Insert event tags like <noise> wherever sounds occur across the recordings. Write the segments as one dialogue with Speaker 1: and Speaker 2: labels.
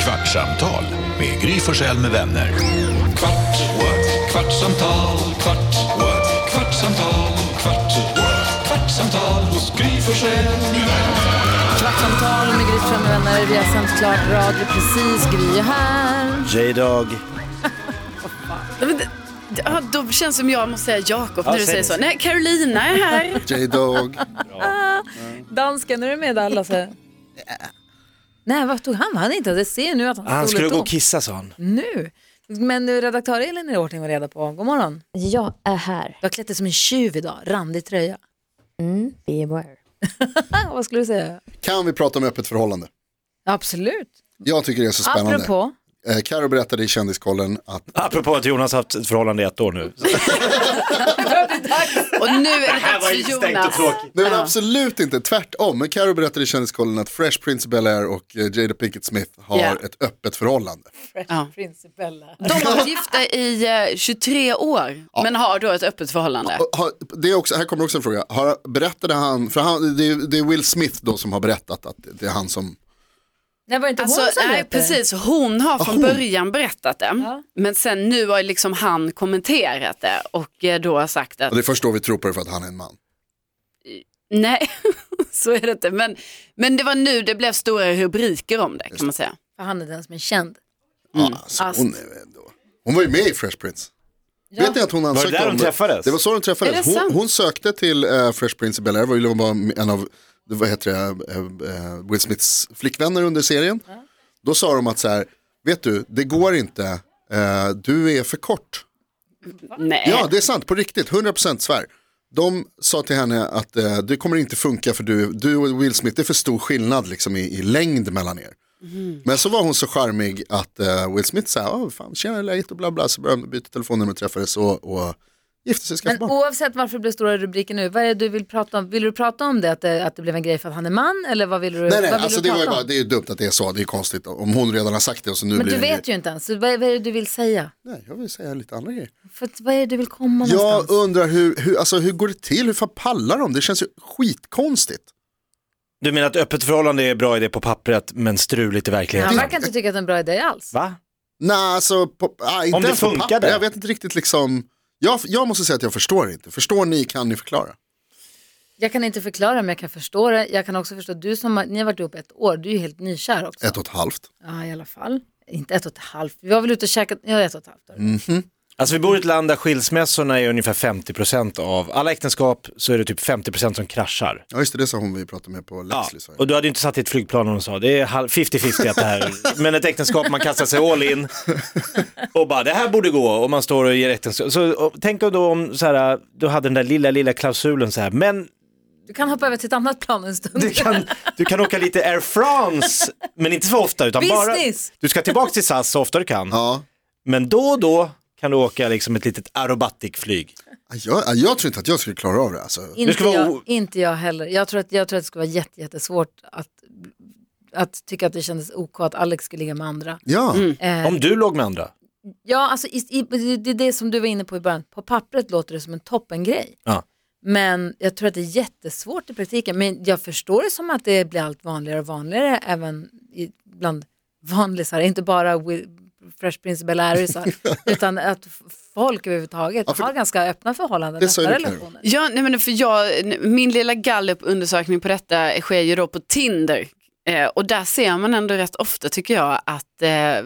Speaker 1: Kvartsamtal med Gry Forssell med vänner. Kvart, what? kvartsamtal, kvart, what? kvartsamtal, kvart, what? kvartsamtal hos Gry Forssell med vänner.
Speaker 2: Kvartsamtal med Gry Forssell med vänner. Vi har sänt klart radio precis. Gry är här.
Speaker 3: J-Dog.
Speaker 4: Ja, men det- det- Ja, då känns det som jag måste säga Jakob
Speaker 3: Ja,
Speaker 4: när
Speaker 3: säg
Speaker 4: du säger
Speaker 3: det.
Speaker 4: så. Nej, Carolina är här.
Speaker 5: J-Dog.
Speaker 2: Dansken, är du med alla så här? Nej, vad tog han? Han är inte det ser jag nu att han,
Speaker 3: Han
Speaker 2: stod
Speaker 3: skulle
Speaker 2: lite
Speaker 3: gå
Speaker 2: om.
Speaker 3: och kissa sa han.
Speaker 2: Nu. Men nu, redaktör Elin är i ordning och reda på. God morgon.
Speaker 6: Jag är här.
Speaker 2: Du har klätt dig som en tjuv idag. Randig tröja.
Speaker 6: Mm, beware.
Speaker 2: Ah, vad skulle du säga?
Speaker 5: Kan vi prata om öppet förhållande?
Speaker 2: Absolut.
Speaker 5: Jag tycker det är så spännande.
Speaker 2: Apropå.
Speaker 5: Eh, Karo berättade i Kändiskollen att
Speaker 3: Apropå att Jonas har haft ett förhållande i ett år nu.
Speaker 4: Och nu är det dags för Jonas.
Speaker 5: Nej men absolut inte, tvärtom. Men Karo berättade i Kändiskollen att Fresh Prince of Bel-Air och eh, Jada Pinkett Smith har
Speaker 4: Ja.
Speaker 5: ett öppet förhållande.
Speaker 4: Ja.
Speaker 2: Principella.
Speaker 4: De har varit gifta i eh, 23 år, men har då ett öppet förhållande.
Speaker 5: Och har- Det är också, här kommer också en fråga. Har, berättade han, för han, det, är, det är Will Smith då som har berättat att det är han som,
Speaker 2: Nej, var det inte hon
Speaker 4: Alltså,
Speaker 2: som
Speaker 4: nej,
Speaker 2: berättade?
Speaker 4: precis. Hon har från början berättat det, men sen nu har liksom han kommenterat det och eh, då har sagt att
Speaker 5: och det är först då vi tror på det för att han är en man.
Speaker 4: nej, <laughs> så är det inte. Men, men det var nu det blev stora rubriker om det kan man säga.
Speaker 2: För han är den som är känd.
Speaker 4: Mm.
Speaker 5: Ja, alltså, hon, är väl ändå. hon var ju med i Fresh Prince. Vet ni att hon ansökte
Speaker 3: där
Speaker 5: om
Speaker 3: de träffades?
Speaker 5: Det var så de
Speaker 4: Är
Speaker 5: träffades.
Speaker 4: det
Speaker 5: Hon,
Speaker 4: sant?
Speaker 5: hon sökte till eh, Fresh Prince of Bel-Air, var ju bara en av vad heter det, eh, eh, Will Smiths flickvänner under serien. Då sa de att så här, vet du, det går inte, eh, du är för kort.
Speaker 4: Nej.
Speaker 5: Ja, det är sant, på riktigt, 100% svär. De sa till henne att eh, det kommer inte funka för du, du och Will Smith, det är för stor skillnad liksom, i, i längd mellan er.
Speaker 2: Mhm.
Speaker 5: Men så var hon så charmig att eh, Will Smith sa, oh, fan, tjena hur är läget och bla bla, så började de byta telefonnummer och träffades och, och gifte sig och skaffade
Speaker 2: Men
Speaker 5: barn.
Speaker 2: oavsett varför det blev stora rubriker nu, vad är det du vill prata om? Vill du prata om det, att det, att det blev en grej för att han är man? Eller vad vill du,
Speaker 5: Nej, nej,
Speaker 2: vad vill
Speaker 5: alltså
Speaker 2: du
Speaker 5: det, var
Speaker 2: prata
Speaker 5: ju bara,
Speaker 2: om?
Speaker 5: det är ju dumt att det är så, det är konstigt om hon redan har sagt det och så nu
Speaker 2: Men
Speaker 5: blir
Speaker 2: du
Speaker 5: det en
Speaker 2: vet ju inte ens, så vad är, vad är det du vill säga?
Speaker 5: grej. Nej, jag vill säga lite andra grejer.
Speaker 2: För att, vad är det du vill komma
Speaker 5: Jag
Speaker 2: någonstans?
Speaker 5: undrar hur, hur, alltså, hur går det till, hur fan pallar de? Det känns ju skitkonstigt.
Speaker 3: Du menar att öppet förhållande är en bra idé på pappret men struligt i
Speaker 2: Han
Speaker 3: verkligheten?
Speaker 2: verkar inte tycka att det är en bra idé alls.
Speaker 3: Va?
Speaker 5: Nej, alltså, på, ah, inte
Speaker 3: Om det
Speaker 5: ens på
Speaker 3: funkade.
Speaker 5: papper. Jag vet inte riktigt liksom. Jag, jag måste säga att jag förstår inte. Förstår ni, kan ni förklara?
Speaker 2: Jag kan inte förklara men jag kan förstå det. Jag kan också förstå, du som har, ni har varit ihop ett år, du är ju helt nykär också.
Speaker 5: Ett och ett halvt.
Speaker 2: Ja, i alla fall. Inte ett och ett halvt, vi var väl ute och käkat, ja ett och ett halvt år.
Speaker 5: Mm.
Speaker 3: Alltså vi bor i ett land där skilsmässorna är ungefär 50% av, alla äktenskap så är det typ 50% som kraschar.
Speaker 5: Ja, just det, det sa hon vi pratade med på Lexley. sa jag.
Speaker 3: Och du hade ju inte satt i ett flygplan och hon sa det är halv- 50-50 att det här, men ett äktenskap man kastar sig all in och bara det här borde gå och man står och ger äktenskap. Så och, tänk då om så här, du hade den där lilla, lilla klausulen så här, men
Speaker 2: Du kan hoppa över till ett annat plan en stund.
Speaker 3: Du kan, du kan åka lite Air France, men inte så ofta. Utan bara,
Speaker 2: Business.
Speaker 3: du ska tillbaka till SAS så ofta du kan.
Speaker 5: Ja.
Speaker 3: Men då och då kan du åka liksom ett litet aerobatikflyg.
Speaker 5: Ah, Jag, ah, jag tror inte att jag skulle klara av det. Alltså.
Speaker 2: Inte,
Speaker 3: ska vara
Speaker 2: jag,
Speaker 3: o-
Speaker 2: inte jag heller. Jag tror, att, jag tror att det skulle vara jätte- jättesvårt att, att tycka att det kändes ok att Alex skulle ligga med andra.
Speaker 5: Ja,
Speaker 2: Eh,
Speaker 3: Om du låg med andra.
Speaker 2: Ja, alltså, i, i, det är det som du var inne på i början. På pappret låter det som en toppengrej.
Speaker 3: Ja.
Speaker 2: Men jag tror att det är jättesvårt i praktiken. Men jag förstår det som att det blir allt vanligare och vanligare även i, bland vanlisar. Inte bara Will, Fresh Prince bel
Speaker 5: <laughs>
Speaker 2: Airisar, utan att f- folk överhuvudtaget
Speaker 5: Ja, för-
Speaker 2: har ganska öppna förhållanden,
Speaker 5: Det sa
Speaker 2: öppna
Speaker 5: ju Karo.
Speaker 2: relationer.
Speaker 4: Ja, nej men för jag, min lilla gallupundersökning på detta sker ju då på Tinder. Eh, och där ser man ändå rätt ofta tycker jag att eh,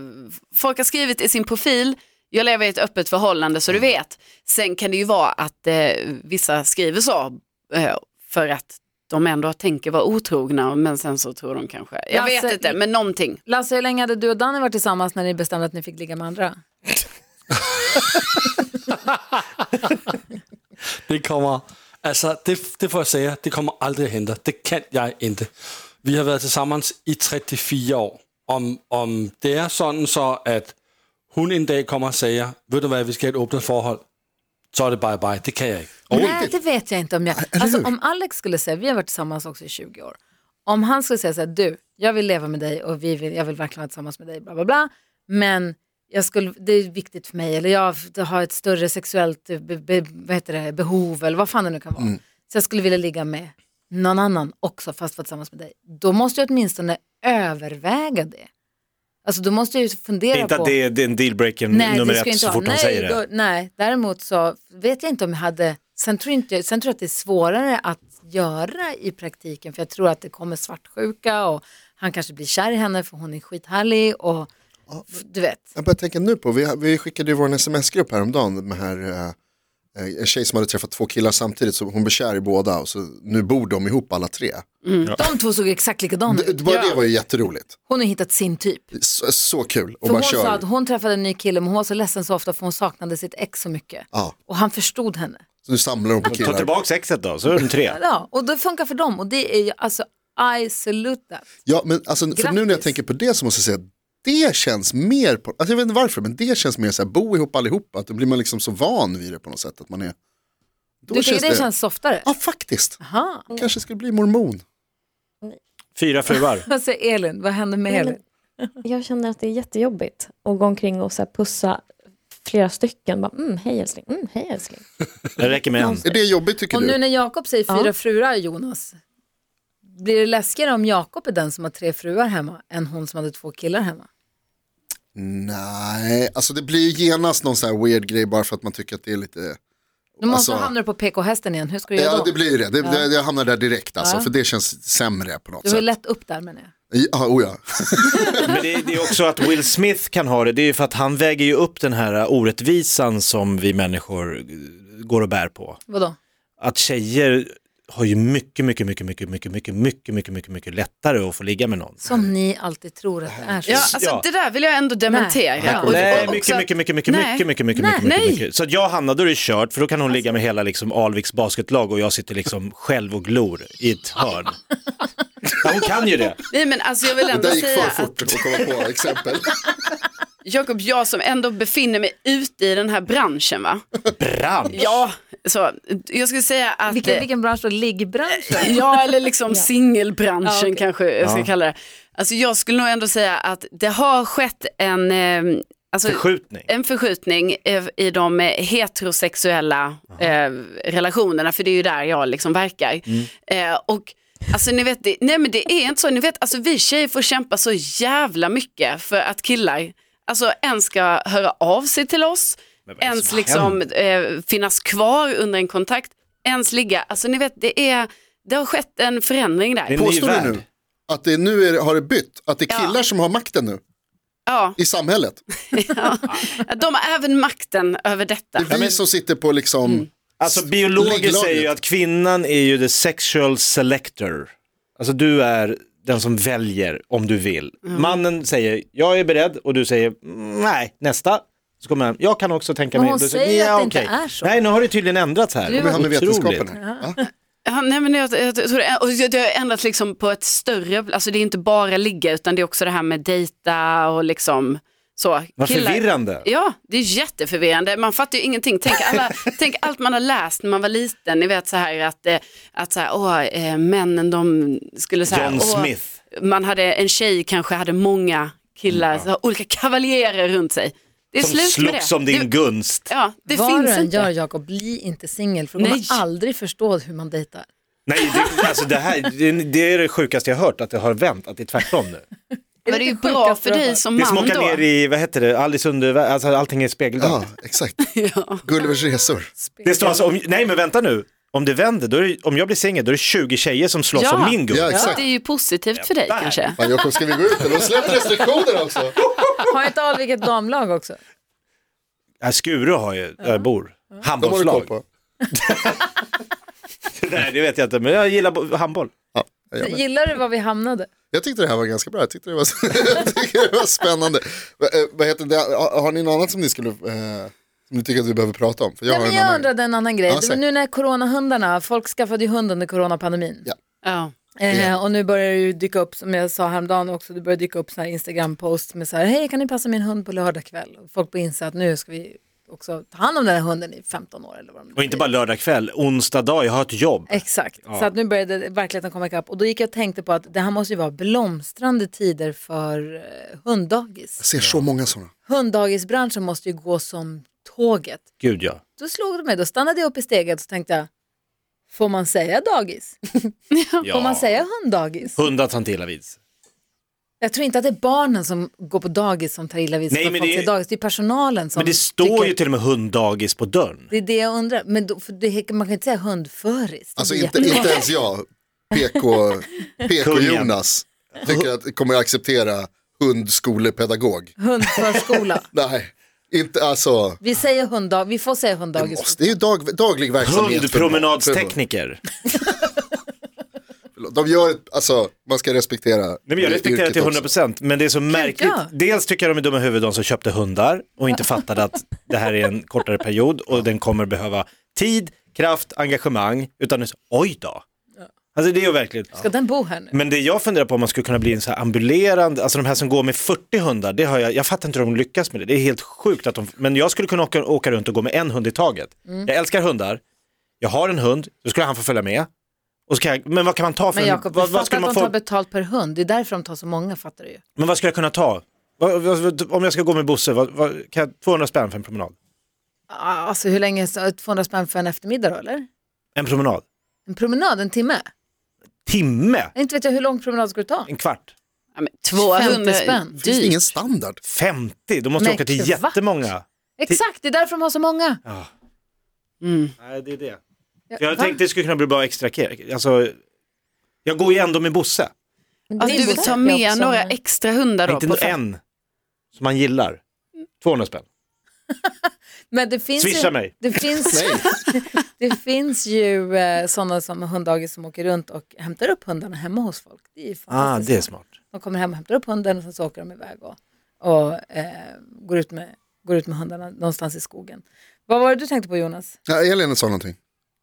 Speaker 4: folk har skrivit i sin profil, jag lever i ett öppet förhållande så du vet. Sen kan det ju vara att eh, vissa skriver så eh, för att de ändå tänker vara otrogna men sen så tror de kanske, jag
Speaker 2: Lasse,
Speaker 4: vet inte, men någonting.
Speaker 2: Lasse, hur länge hade du och Danny varit tillsammans när ni bestämde att ni fick ligga med andra?
Speaker 7: Det kommer, altså det, det får jeg sige, det kommer aldrig at hente. Det kan jeg ikke. Vi har været sammen i 34 år. Om, om det er sådan så, at hun en dag kommer og siger, ved du hvad, vi skal have et åbnet forhold, så er det bye bye. Det kan jeg ikke.
Speaker 2: Nej, det vet jag inte om jag... Alltså, om Alex skulle säga, vi har varit tillsammans också i 20 år. Om han skulle säga så här, du, jag vill leva med dig och vi vill, jag vill verkligen vara tillsammans med dig, bla bla bla. Men jag skulle, det är viktigt för mig, eller jag har ett större sexuellt be, be, vad heter det, behov, eller vad fan det nu kan vara.
Speaker 3: Mm.
Speaker 2: Så jag skulle vilja ligga med någon annan också, fast vara tillsammans med dig. Då måste jag åtminstone överväga det. Alltså då måste jag ju fundera
Speaker 3: Inte
Speaker 2: på...
Speaker 3: att det är, det är en dealbreaker nummer
Speaker 2: ska jag
Speaker 3: ett så
Speaker 2: ha.
Speaker 3: fort han
Speaker 2: nej,
Speaker 3: säger det.
Speaker 2: då- nej, däremot så vet jag inte om jag hade, sen tror, inte, sen tror jag att det är svårare att göra i praktiken för jag tror att det kommer svartsjuka och han kanske blir kär i henne för hon är skithärlig och f- du vet.
Speaker 5: Jag börjar tänka nu på, vi, vi skickade ju vår sms-grupp häromdagen med här, eh, en tjej som hade träffat två killar samtidigt, så hon blev kär i båda och så nu bor de ihop alla tre.
Speaker 2: De två såg exakt likadana
Speaker 5: Det,
Speaker 2: ut.
Speaker 5: bara det var ju jätteroligt,
Speaker 2: Hon har hittat sin typ.
Speaker 5: så, så kul. Och
Speaker 2: För
Speaker 5: bara
Speaker 2: hon sa
Speaker 5: kör.
Speaker 2: att hon träffade en ny kille men hon var så ledsen så ofta för hon saknade sitt ex så mycket.
Speaker 5: Ja,
Speaker 2: Och han förstod henne.
Speaker 5: så nu samlar hon på
Speaker 3: Ta
Speaker 5: killar.
Speaker 3: tillbaka sexet då, så är de tre.
Speaker 2: Ja, och det funkar för dem och det är ju alltså I salute that.
Speaker 5: Ja, men alltså, för nu när jag
Speaker 2: Grattis.
Speaker 5: tänker på det så måste jag säga att det känns mer, på, alltså jag vet inte varför, men det känns mer så här, bo ihop allihopa, att då blir man liksom så van vid det på något sätt. Att man är, då
Speaker 2: Du tycker det känns softare?
Speaker 5: Ja, faktiskt.
Speaker 2: Aha.
Speaker 5: Kanske skulle bli mormon.
Speaker 3: Fyra fruar.
Speaker 2: Vad säger Alltså, Elin? Vad hände med
Speaker 6: Nej,
Speaker 2: Elin?
Speaker 6: men Jag känner att det är jättejobbigt att gå omkring och så här pussa flera stycken. Bara, mm, hej älskling, mm, hej älskling.
Speaker 3: Det räcker med en.
Speaker 5: Är det jobbigt tycker
Speaker 2: Och
Speaker 5: du?
Speaker 2: nu när Jakob säger fyra
Speaker 6: Ja.
Speaker 2: fruar, Jonas, blir det läskigare om Jakob är den som har tre fruar hemma än hon som hade två killar hemma?
Speaker 5: Nej, alltså det blir ju genast någon sån här weird grej bara för att man tycker att det är lite...
Speaker 2: Nu måste
Speaker 5: Alltså-
Speaker 2: hamna på PK-hästen igen, hur ska du göra
Speaker 5: Ja,
Speaker 2: då?
Speaker 5: det blir ju det. det, det jag hamnar där direkt alltså,
Speaker 2: Ja.
Speaker 5: för det känns sämre på något
Speaker 2: Du var
Speaker 5: sätt.
Speaker 2: lätt upp där menar jag.
Speaker 5: Ja, oh ja.
Speaker 3: Men det, det är också att Will Smith kan ha det, det är ju för att han väger ju upp den här orättvisan som vi människor eh, går och bär på.
Speaker 2: Vadå?
Speaker 3: Att tjejer har ju mycket, mycket, mycket, mycket, mycket, mycket, mycket, mycket, mycket, mycket lättare att få ligga med någon.
Speaker 2: Som ni alltid tror att det är. Så.
Speaker 4: Ja, alltså,
Speaker 3: Ja.
Speaker 4: Det där vill jag ändå dementera.
Speaker 2: Nej.
Speaker 4: Och- och
Speaker 3: Nej,
Speaker 4: också
Speaker 3: mycket,
Speaker 4: att-
Speaker 3: mycket, mycket, mycket,
Speaker 4: Nej.
Speaker 3: mycket, mycket, mycket, mycket,
Speaker 4: Nej.
Speaker 3: mycket, mycket. Så att jag och Hanna, då är det kört, för då kan hon ligga med hela liksom Alviks basketlag och jag sitter liksom själv och glor i ett hörn. Ja, hon kan ju det.
Speaker 4: Nej, men alltså, jag vill
Speaker 5: Det
Speaker 4: ändå
Speaker 5: där gick
Speaker 4: säga
Speaker 5: för
Speaker 4: att
Speaker 5: fort att komma på exempel.
Speaker 4: Jakob, jag som ändå befinner mig ute i den här branschen va?
Speaker 3: Bransch.
Speaker 4: Ja, så jag skulle säga att... eh,
Speaker 2: Vilken, vilken bransch då? Liggbranschen?
Speaker 4: Ja, eller liksom singelbranschen
Speaker 2: Ja, okej.
Speaker 4: kanske jag ska kalla det. Alltså jag skulle nog ändå säga att det har skett en, eh, alltså,
Speaker 3: Förskjutning.
Speaker 4: en förskjutning eh, i de eh, heterosexuella eh, relationerna, för det är ju där jag liksom verkar.
Speaker 3: Mm.
Speaker 4: Eh, och Alltså ni vet, det, nej men det är inte så, ni vet, alltså vi tjejer får kämpa så jävla mycket för att killar, alltså en ska höra av sig till oss,
Speaker 3: vad är det
Speaker 4: ens
Speaker 3: som
Speaker 4: liksom eh, finnas kvar under en kontakt, ens ligga, alltså ni vet, det är, det har skett en förändring där.
Speaker 3: Det är en ny
Speaker 5: Påstår du
Speaker 3: värld.
Speaker 5: nu att det nu är, har det bytt? Att det är
Speaker 4: Ja.
Speaker 5: killar som har makten nu
Speaker 4: Ja,
Speaker 5: i samhället?
Speaker 4: <laughs> ja. De har även makten över detta.
Speaker 5: Det är vi som sitter på liksom...
Speaker 3: Alltså biologer
Speaker 5: Ligglagret.
Speaker 3: säger ju att kvinnan är ju the sexual selector. Alltså du är den som väljer om du vill. Mannen säger jag är beredd och du säger "Mm, nej, nästa. Så kommer han, jag kan också tänka
Speaker 2: Men
Speaker 3: mig.
Speaker 2: hon
Speaker 3: Du
Speaker 2: säger att det inte
Speaker 3: okej."
Speaker 2: är så.
Speaker 3: Nej, nu har det tydligen ändrats här.
Speaker 2: Nu
Speaker 5: Vi hamnar i vetenskapen
Speaker 3: Otroligt.
Speaker 5: här. Ja.
Speaker 4: Ja, nej, men jag, jag, tror det, och jag, det har ändrats liksom på ett större, alltså det är inte bara ligga utan det är också det här med dejta och liksom så.
Speaker 3: Vad
Speaker 4: Killar-
Speaker 3: förvirrande.
Speaker 4: Ja, det är jätteförvirrande. Man fattar ju ingenting. Tänk,
Speaker 3: <laughs>
Speaker 4: alla, tänk allt man har läst när man var liten. Ni vet så här att, eh, att så här, åh, eh, männen de skulle så här,
Speaker 3: John
Speaker 4: åh,
Speaker 3: Smith.
Speaker 4: man hade en tjej kanske hade många killar, så här, olika kavaljerer runt sig. Det är
Speaker 3: Mm, Som
Speaker 4: slut med det.
Speaker 3: slogs om din
Speaker 4: det,
Speaker 3: gunst.
Speaker 4: Ja, <laughs> det
Speaker 2: Vad du
Speaker 4: finns
Speaker 2: än
Speaker 4: inte.
Speaker 2: gör Jakob, bli inte singel för du
Speaker 4: Nej.
Speaker 2: kommer aldrig förstå hur man dejtar.
Speaker 3: Nej, det, alltså det, här, det, det är det sjukaste jag hört, att det har vänt, att det är tvärtom nu.
Speaker 4: Men det är ju
Speaker 2: inte
Speaker 4: bra
Speaker 2: sjukaste
Speaker 4: för
Speaker 2: jag
Speaker 4: dig
Speaker 2: hört?
Speaker 4: som
Speaker 3: Det
Speaker 4: man
Speaker 3: smakar
Speaker 4: då.
Speaker 3: ner i, vad heter det, Alice under, alltså allting är spegelblankt.
Speaker 5: ja, exakt. Gullivers resor.
Speaker 3: Det står alltså, om, nej men vänta nu, om det vänder, då är det, om jag blir singel, då är det 20 tjejer som slåss om min gubbe.
Speaker 5: Ja,
Speaker 4: Så
Speaker 5: exakt.
Speaker 4: det är ju positivt för dig
Speaker 3: Där.
Speaker 4: kanske.
Speaker 5: Fan, Jakob, ska vi gå ut eller? De släpper restriktioner alltså. också.
Speaker 2: Har inte Alvik ett damlag också?
Speaker 3: Ja. Äh, Skuru har ju, där jag bor,
Speaker 5: De har du koll
Speaker 3: handbollslag.
Speaker 5: på.
Speaker 3: <laughs> nej det vet jag inte, men jag gillar bo- handboll.
Speaker 5: Ja, jag med.
Speaker 2: Gillar du var vi hamnade?
Speaker 5: Jag tyckte det här var ganska bra, jag tyckte det var, <laughs> jag tyckte det var spännande. Va- eh, Vad heter det? Har, har ni något annat som ni skulle, eh, som ni tycker att vi behöver prata om? För jag
Speaker 2: Jag,
Speaker 5: har
Speaker 2: Nej,
Speaker 5: en
Speaker 2: men jag
Speaker 5: annan.
Speaker 2: undrade en annan grej.
Speaker 5: Ja,
Speaker 2: Det var
Speaker 5: säg.
Speaker 2: nu när coronahundarna, folk skaffade ju hund under coronapandemin.
Speaker 5: Ja.
Speaker 4: Ja.
Speaker 2: Eh, och nu börjar det ju dyka upp, som jag sa häromdagen också, det börjar dyka upp så här Instagram-posts med så här, hej kan ni passa min hund på lördag kväll? Och folk börjar inse att nu ska vi också ta hand om den här hunden i 15 år eller vad de
Speaker 3: Och inte bara lördag kväll, onsdag dag, jag har ett jobb.
Speaker 2: Exakt, så att nu började verkligheten komma ikapp. Och då gick jag och tänkte på att det här måste ju vara blomstrande tider för eh, hunddagis.
Speaker 5: Jag ser så många sådana.
Speaker 2: Hunddagisbranschen måste ju gå som tåget.
Speaker 3: Gud ja.
Speaker 2: Då slog det mig, då stannade jag upp i steget och tänkte jag, får man säga dagis? Får man
Speaker 3: ja.
Speaker 2: säga hunddagis?
Speaker 3: Hundar tar inte illa vid sig.
Speaker 2: Jag tror inte att det är barnen som går på dagis som tar illa vid sig.
Speaker 3: Nej,
Speaker 2: som
Speaker 3: men
Speaker 2: har fått
Speaker 3: det-
Speaker 2: sig dagis. det är personalen som
Speaker 3: Men det står
Speaker 2: tycker-
Speaker 3: ju till och med hunddagis på dörren.
Speaker 2: Det är det jag undrar. Men då, för det, man kan inte säga hundföris. Det
Speaker 5: Alltså
Speaker 2: blir
Speaker 5: inte,
Speaker 2: jättekonstigt.
Speaker 5: inte ens jag, PK, PK
Speaker 3: Kungen.
Speaker 5: Jonas, tycker att kommer acceptera hundskolepedagog.
Speaker 2: <laughs> Hundförskola.
Speaker 5: Nej, inte alltså.
Speaker 2: Vi säger hunddag, vi får säga hunddagis.
Speaker 5: Måste, det är ju dag, daglig verksamhet. för-
Speaker 3: Hundpromenadstekniker.
Speaker 5: för- De gör, alltså man ska respektera
Speaker 3: Nej, men jag respekterar
Speaker 5: yrket
Speaker 3: till
Speaker 5: också.
Speaker 3: 100 procent, men det är så märkligt.
Speaker 2: ja.
Speaker 3: Dels tycker jag de är dumma i huvudet, de som köpte hundar och inte fattade att det här är en kortare period och den kommer behöva tid, kraft, engagemang, utan det är så, oj då. Alltså det är ju verkligen.
Speaker 2: Ska den bo här nu?
Speaker 3: Men det jag funderar på om man skulle kunna bli en så här ambulerande, alltså de här som går med 40 hundar, det har jag, jag fattar inte hur de lyckas med det. Det är helt sjukt att de, men jag skulle kunna åka, åka runt och gå med en hund i taget.
Speaker 2: Mm.
Speaker 3: Jag älskar hundar, jag har en hund, då skulle han få följa med. Och så kan jag, men vad kan man ta för
Speaker 2: Men
Speaker 3: en-
Speaker 2: Jakob,
Speaker 3: vad,
Speaker 2: du
Speaker 3: vad
Speaker 2: fattar
Speaker 3: skulle
Speaker 2: att de
Speaker 3: man få?
Speaker 2: tar betalt per hund. Det är därför de tar så många, fattar du ju.
Speaker 3: Men vad ska jag kunna ta? Vad, vad, om jag ska gå med Bosse, vad, vad, kan jag 200 spänn för en promenad?
Speaker 2: Ah, Alltså hur länge, så- 200 spänn för en eftermiddag då eller?
Speaker 3: En promenad?
Speaker 2: En promenad, en timme?
Speaker 3: Timme?
Speaker 2: Jag inte vet jag hur lång promenad ska du ta?
Speaker 3: En kvart?
Speaker 4: Ja, men 200
Speaker 2: spänn.
Speaker 5: Det är
Speaker 4: Dyrt.
Speaker 5: ingen standard.
Speaker 3: 50? Då måste
Speaker 2: Men
Speaker 3: jag åka till
Speaker 2: kvart?
Speaker 3: jättemånga.
Speaker 2: Exakt, det är därför de har så många.
Speaker 3: Ja.
Speaker 4: Mm.
Speaker 3: Nej, det är det.
Speaker 2: Ja,
Speaker 3: Jag
Speaker 2: va?
Speaker 3: tänkte det skulle kunna bli bra extra Alltså, jag går ju ändå med Bosse,
Speaker 6: Men
Speaker 4: Ja,
Speaker 6: det
Speaker 4: du vill
Speaker 6: borde
Speaker 4: ta
Speaker 6: jag
Speaker 4: med
Speaker 6: också-
Speaker 4: några extra hundar då?
Speaker 3: inte
Speaker 4: på
Speaker 3: nå-
Speaker 4: fest?
Speaker 3: en som man gillar. 200 spänn.
Speaker 2: Men det finns
Speaker 3: Swisha
Speaker 2: ju,
Speaker 3: mig.
Speaker 2: Det
Speaker 5: <laughs>
Speaker 2: finns, det finns ju eh, sådana som har hunddagis som åker runt och hämtar upp hundarna hemma hos folk. Det är ju
Speaker 3: Ah,
Speaker 2: fantastiskt.
Speaker 3: det är smart.
Speaker 2: De kommer hem och hämtar upp hunden och sen så åker de iväg och, och eh, går, ut med, går ut med hundarna någonstans i skogen. Vad var det du tänkte på Jonas?
Speaker 5: Ja, Elin sa någonting.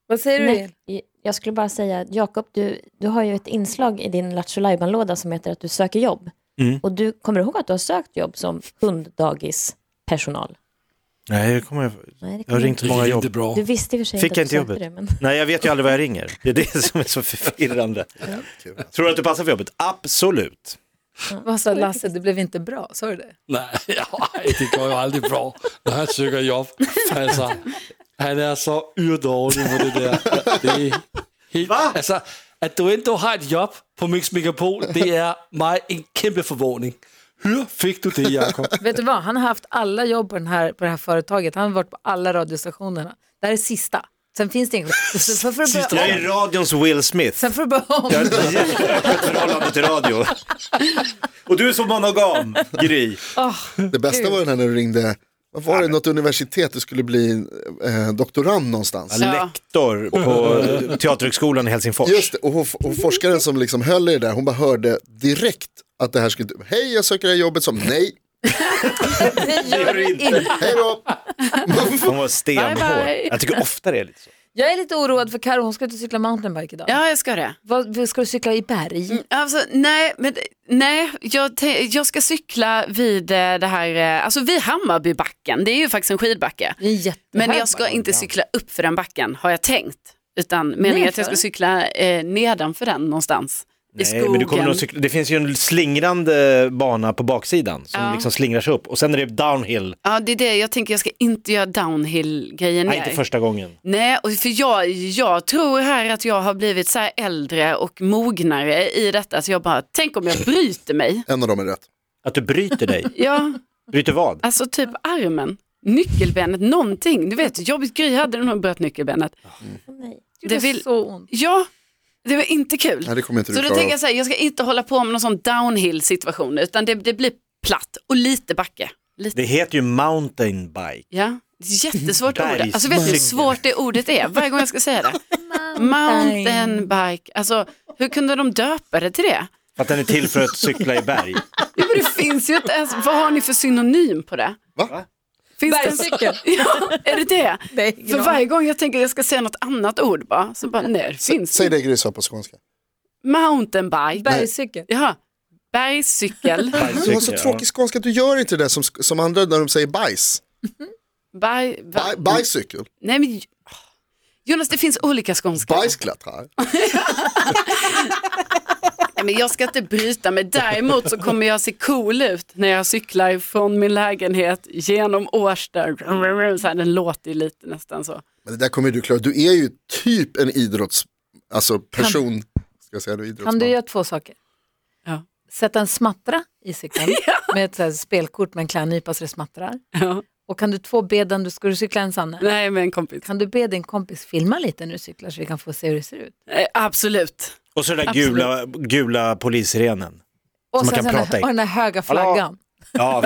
Speaker 2: Vad säger du?
Speaker 6: Nej,
Speaker 2: Nej.
Speaker 6: jag skulle bara säga, Jakob, du, du har ju ett inslag i din Lattjo Lajban-låda som heter att du söker jobb.
Speaker 3: Mm.
Speaker 6: Och du kommer du ihåg att du har sökt jobb som hunddagispersonal?
Speaker 3: Nej, det kommer jag...
Speaker 6: Nej, det
Speaker 3: jag har
Speaker 6: kommer
Speaker 3: ringt
Speaker 6: inte.
Speaker 3: till många jobb.
Speaker 7: bra.
Speaker 6: Du visste i och för sig
Speaker 3: Fick jag
Speaker 6: att du
Speaker 3: inte
Speaker 6: sökte
Speaker 3: jobbet?
Speaker 6: det, men
Speaker 3: Nej, jag vet ju aldrig vad jag ringer. Det är det <laughs> som är så förvirrande. Tror du att du passar för jobbet? Absolut.
Speaker 2: Vad sa Lasse, det blev inte bra, sa du det?
Speaker 7: Nej, <laughs> nej, det går ju aldrig bra när han söker jobb. Altså, han är så urdårlig på det där. Det är helt, altså, att du ändå har ett jobb på Mix Megapol, det är mig en kämpe förvåning. Hur fick du det, Jakob?
Speaker 2: Vet du vad, han har haft alla jobb på, den här, på det här företaget. Han har varit på alla radiostationerna. Det här är sista. Sen finns det inget. Sen får du
Speaker 3: Jag
Speaker 2: börja
Speaker 3: är
Speaker 2: om.
Speaker 3: radions Will Smith.
Speaker 2: Sen får du börja om.
Speaker 3: Jag har ett jätteöppet förhållande till radio. Och du är så monogam, Gry.
Speaker 5: Det bästa var den här när du ringde, vad var det, något universitet du skulle bli eh, doktorand någonstans?
Speaker 4: Ja.
Speaker 3: Lektor på Teaterhögskolan i Helsingfors.
Speaker 5: Just det, och, hon, och forskaren som liksom höll i det där, hon bara hörde direkt att det här skulle, hej jag söker det här jobbet som, nej,
Speaker 2: <laughs> Det gör du inte.
Speaker 5: hej då.
Speaker 3: Hon var stenhård.
Speaker 4: Bye, bye.
Speaker 3: Jag tycker ofta det är lite så.
Speaker 2: Jag är lite oroad för Karo, hon ska ut och cykla mountainbike idag.
Speaker 4: Ja, jag ska det.
Speaker 2: Vad, ska du cykla i berg?
Speaker 4: Alltså, nej, men, nej jag, te- jag ska cykla vid eh, det här, eh, alltså vid Hammarbybacken, det är ju faktiskt en skidbacke.
Speaker 2: Det är jättehög
Speaker 4: Men jag ska
Speaker 2: backe.
Speaker 4: inte cykla upp för den backen har jag tänkt, utan meningen är att jag ska
Speaker 2: Nedför?
Speaker 4: cykla eh, nedanför den någonstans. I
Speaker 3: Nej, men du kommer nog
Speaker 4: skogen.
Speaker 3: cykla. Det finns ju en slingrande bana på baksidan som
Speaker 4: Ja.
Speaker 3: liksom slingrar sig upp och sen är det downhill.
Speaker 4: Ja, det är det jag tänker, jag ska inte göra downhill-grejen
Speaker 3: Nej,
Speaker 4: där.
Speaker 3: inte första gången.
Speaker 4: Nej, och för jag, jag tror här att jag har blivit så här äldre och mognare i detta, så jag bara, tänk om jag bryter mig.
Speaker 5: En av dem är rätt.
Speaker 3: Att du bryter dig.
Speaker 4: Ja,
Speaker 3: Bryter vad?
Speaker 4: alltså typ armen, nyckelbenet, någonting. Du vet, jobbigt grej hade när hon bröt nyckelbenet.
Speaker 6: åh, nej.
Speaker 2: Det
Speaker 4: Det vill-
Speaker 2: vill... så ont.
Speaker 4: Ja, det var inte kul.
Speaker 5: Nej, det kommer inte
Speaker 4: Så
Speaker 5: du
Speaker 4: då
Speaker 5: klara
Speaker 4: tänker
Speaker 5: av.
Speaker 4: jag så här, jag ska inte hålla på med någon sån downhill situation, utan det, det blir platt och lite backe. Lite.
Speaker 3: Det heter ju mountain bike.
Speaker 4: Ja, det är jättesvårt ord.
Speaker 3: Bergs-
Speaker 4: Alltså vet du hur svårt det ordet är varje gång jag ska säga det? Mountainbike, alltså hur kunde de döpa det till det?
Speaker 3: Att den är till för att cykla i berg.
Speaker 4: Ja, men det finns ju inte ens, vad har ni för synonym på det?
Speaker 5: Va?
Speaker 4: Finns det ens-
Speaker 2: Bergcykel.
Speaker 4: <laughs> Ja, är det det?
Speaker 2: Nej,
Speaker 4: För varje gång jag tänker att jag ska säga något annat ord bara, så bara nej, det finns
Speaker 5: Säg
Speaker 4: inte.
Speaker 5: det Gry sa på skånska.
Speaker 4: Mountainbike,
Speaker 2: Bergcykel.
Speaker 4: jaha, bergcykel,
Speaker 5: Du har så tråkig skånska, du gör inte det som, som andra när de säger bajs.
Speaker 4: Bi-
Speaker 5: Bi- bicycle,
Speaker 4: Nej men Jonas, det finns olika skånska.
Speaker 5: bajsklättrar.
Speaker 4: Nej, men jag ska inte bryta mig. Däremot så kommer jag se cool ut när jag cyklar från min lägenhet genom Årsta. Så här, den låter ju lite nästan så.
Speaker 5: Men det där kommer ju du klara, du är ju typ en idrotts, alltså person. Ska jag säga du är idrottsman?
Speaker 2: Kan du göra två saker?
Speaker 4: Ja.
Speaker 2: sätta en smattra i cykeln <laughs> med ett så här spelkort med en klädnypa så det smattrar.
Speaker 4: Ja.
Speaker 2: Och kan du två be den, du ska du cykla ensam? Nej.
Speaker 4: Nej, med en kompis.
Speaker 2: Kan du be din kompis filma lite när du cyklar så vi kan få se hur det ser ut?
Speaker 4: Eh, Absolut.
Speaker 3: Och så den där
Speaker 2: Absolut.
Speaker 3: gula, gula polissirenen.
Speaker 2: Och
Speaker 3: man kan
Speaker 2: den här-
Speaker 3: prata i.
Speaker 2: och den här höga flaggan.
Speaker 3: Ja,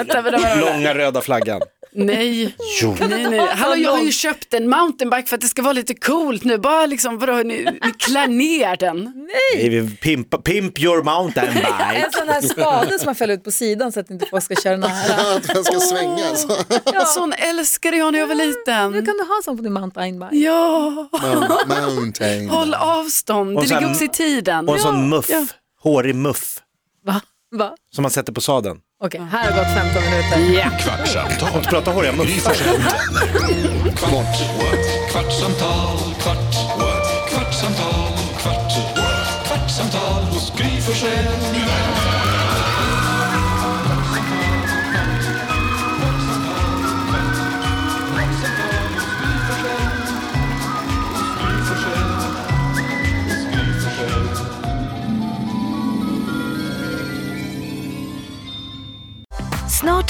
Speaker 3: långa röda flaggan.
Speaker 4: Nej.
Speaker 3: Jo.
Speaker 4: Nej, nej. Hallå, jag har ju köpt en mountainbike för att det ska vara lite coolt nu. Bara liksom, vadå, ni, ni klär ner den.
Speaker 3: Nej, vi pimp, pimp your
Speaker 4: <laughs>
Speaker 3: mountain bike.
Speaker 4: Alltså,
Speaker 2: En sån här spade som man fäller ut på sidan så att inte folk ska <laughs> köra nära.
Speaker 5: Att den ska svänga. alltså. Så.
Speaker 4: En sån Alltså, älskade jag när jag var
Speaker 2: Nu
Speaker 4: liten.
Speaker 2: kan du ha en sån på din mountainbike.
Speaker 4: Ja,
Speaker 5: Mountain.
Speaker 4: håll avstånd.
Speaker 3: Och
Speaker 4: Det
Speaker 3: så här-
Speaker 4: ligger också i tiden.
Speaker 3: Och en sån muff,
Speaker 4: ja.
Speaker 3: hårig muff
Speaker 2: Va? Va?
Speaker 3: som man sätter på sadeln.
Speaker 2: Okej, här har gått 15 minuter.
Speaker 1: Kvartsamtal.
Speaker 3: Prata håriga
Speaker 1: Gry
Speaker 3: muffar.
Speaker 1: Forssell med vänner. Kvart, what? kvartsamtal, kvart, what? kvartsamtal, kvart, what? kvartsamtal hos Gry Forssell med vänner.
Speaker 8: Snart